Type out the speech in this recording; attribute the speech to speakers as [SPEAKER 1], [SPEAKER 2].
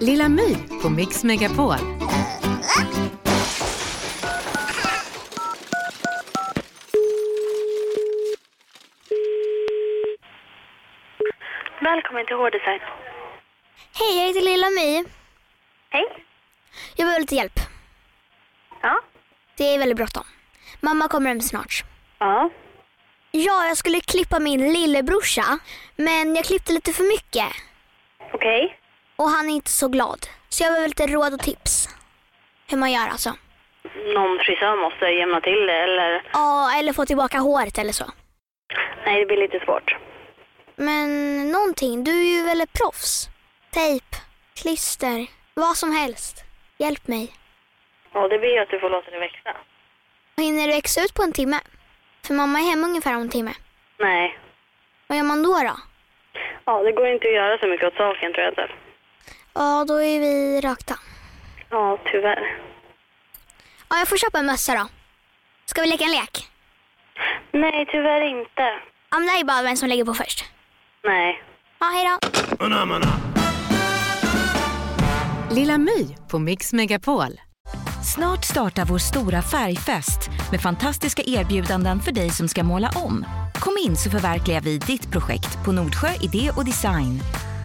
[SPEAKER 1] Lilla My på Mix Megapol.
[SPEAKER 2] Välkommen till Hårdesign.
[SPEAKER 3] Hej, jag heter Lilla My.
[SPEAKER 2] Hej.
[SPEAKER 3] Jag behöver lite hjälp.
[SPEAKER 2] Ja.
[SPEAKER 3] Det är väldigt bråttom. Mamma kommer hem snart.
[SPEAKER 2] Ja.
[SPEAKER 3] Ja, jag skulle klippa min lillebrorsa, men jag klippte lite för mycket
[SPEAKER 2] Okej.
[SPEAKER 3] och han är inte så glad. Så jag behöver lite råd och tips. Hur man gör alltså.
[SPEAKER 2] Någon frisör måste jämna till det eller?
[SPEAKER 3] Ja, eller få tillbaka håret eller så.
[SPEAKER 2] Nej, det blir lite svårt.
[SPEAKER 3] Men någonting, du är ju väl ett proffs? Tejp, klister, vad som helst. Hjälp mig.
[SPEAKER 2] Ja, det blir ju att du får låta det växa.
[SPEAKER 3] Hinner du växa ut på en timme? För mamma är hemma ungefär om en timme.
[SPEAKER 2] Nej.
[SPEAKER 3] Vad gör man då då?
[SPEAKER 2] Ja, det går inte att göra så mycket åt saken tror jag inte.
[SPEAKER 3] Ja, då är vi rökta.
[SPEAKER 2] Ja, tyvärr.
[SPEAKER 3] Ja, jag får köpa en mössa då. Ska vi leka en lek?
[SPEAKER 2] Nej, tyvärr inte.
[SPEAKER 3] Ja, men det här är bara vem som lägger på först.
[SPEAKER 2] Nej.
[SPEAKER 3] Ja, hej då.
[SPEAKER 1] Lilla My på Mix Megapol.
[SPEAKER 4] Snart startar vår stora färgfest med fantastiska erbjudanden för dig som ska måla om. Kom in så förverkligar vi ditt projekt på Nordsjö Idé och Design.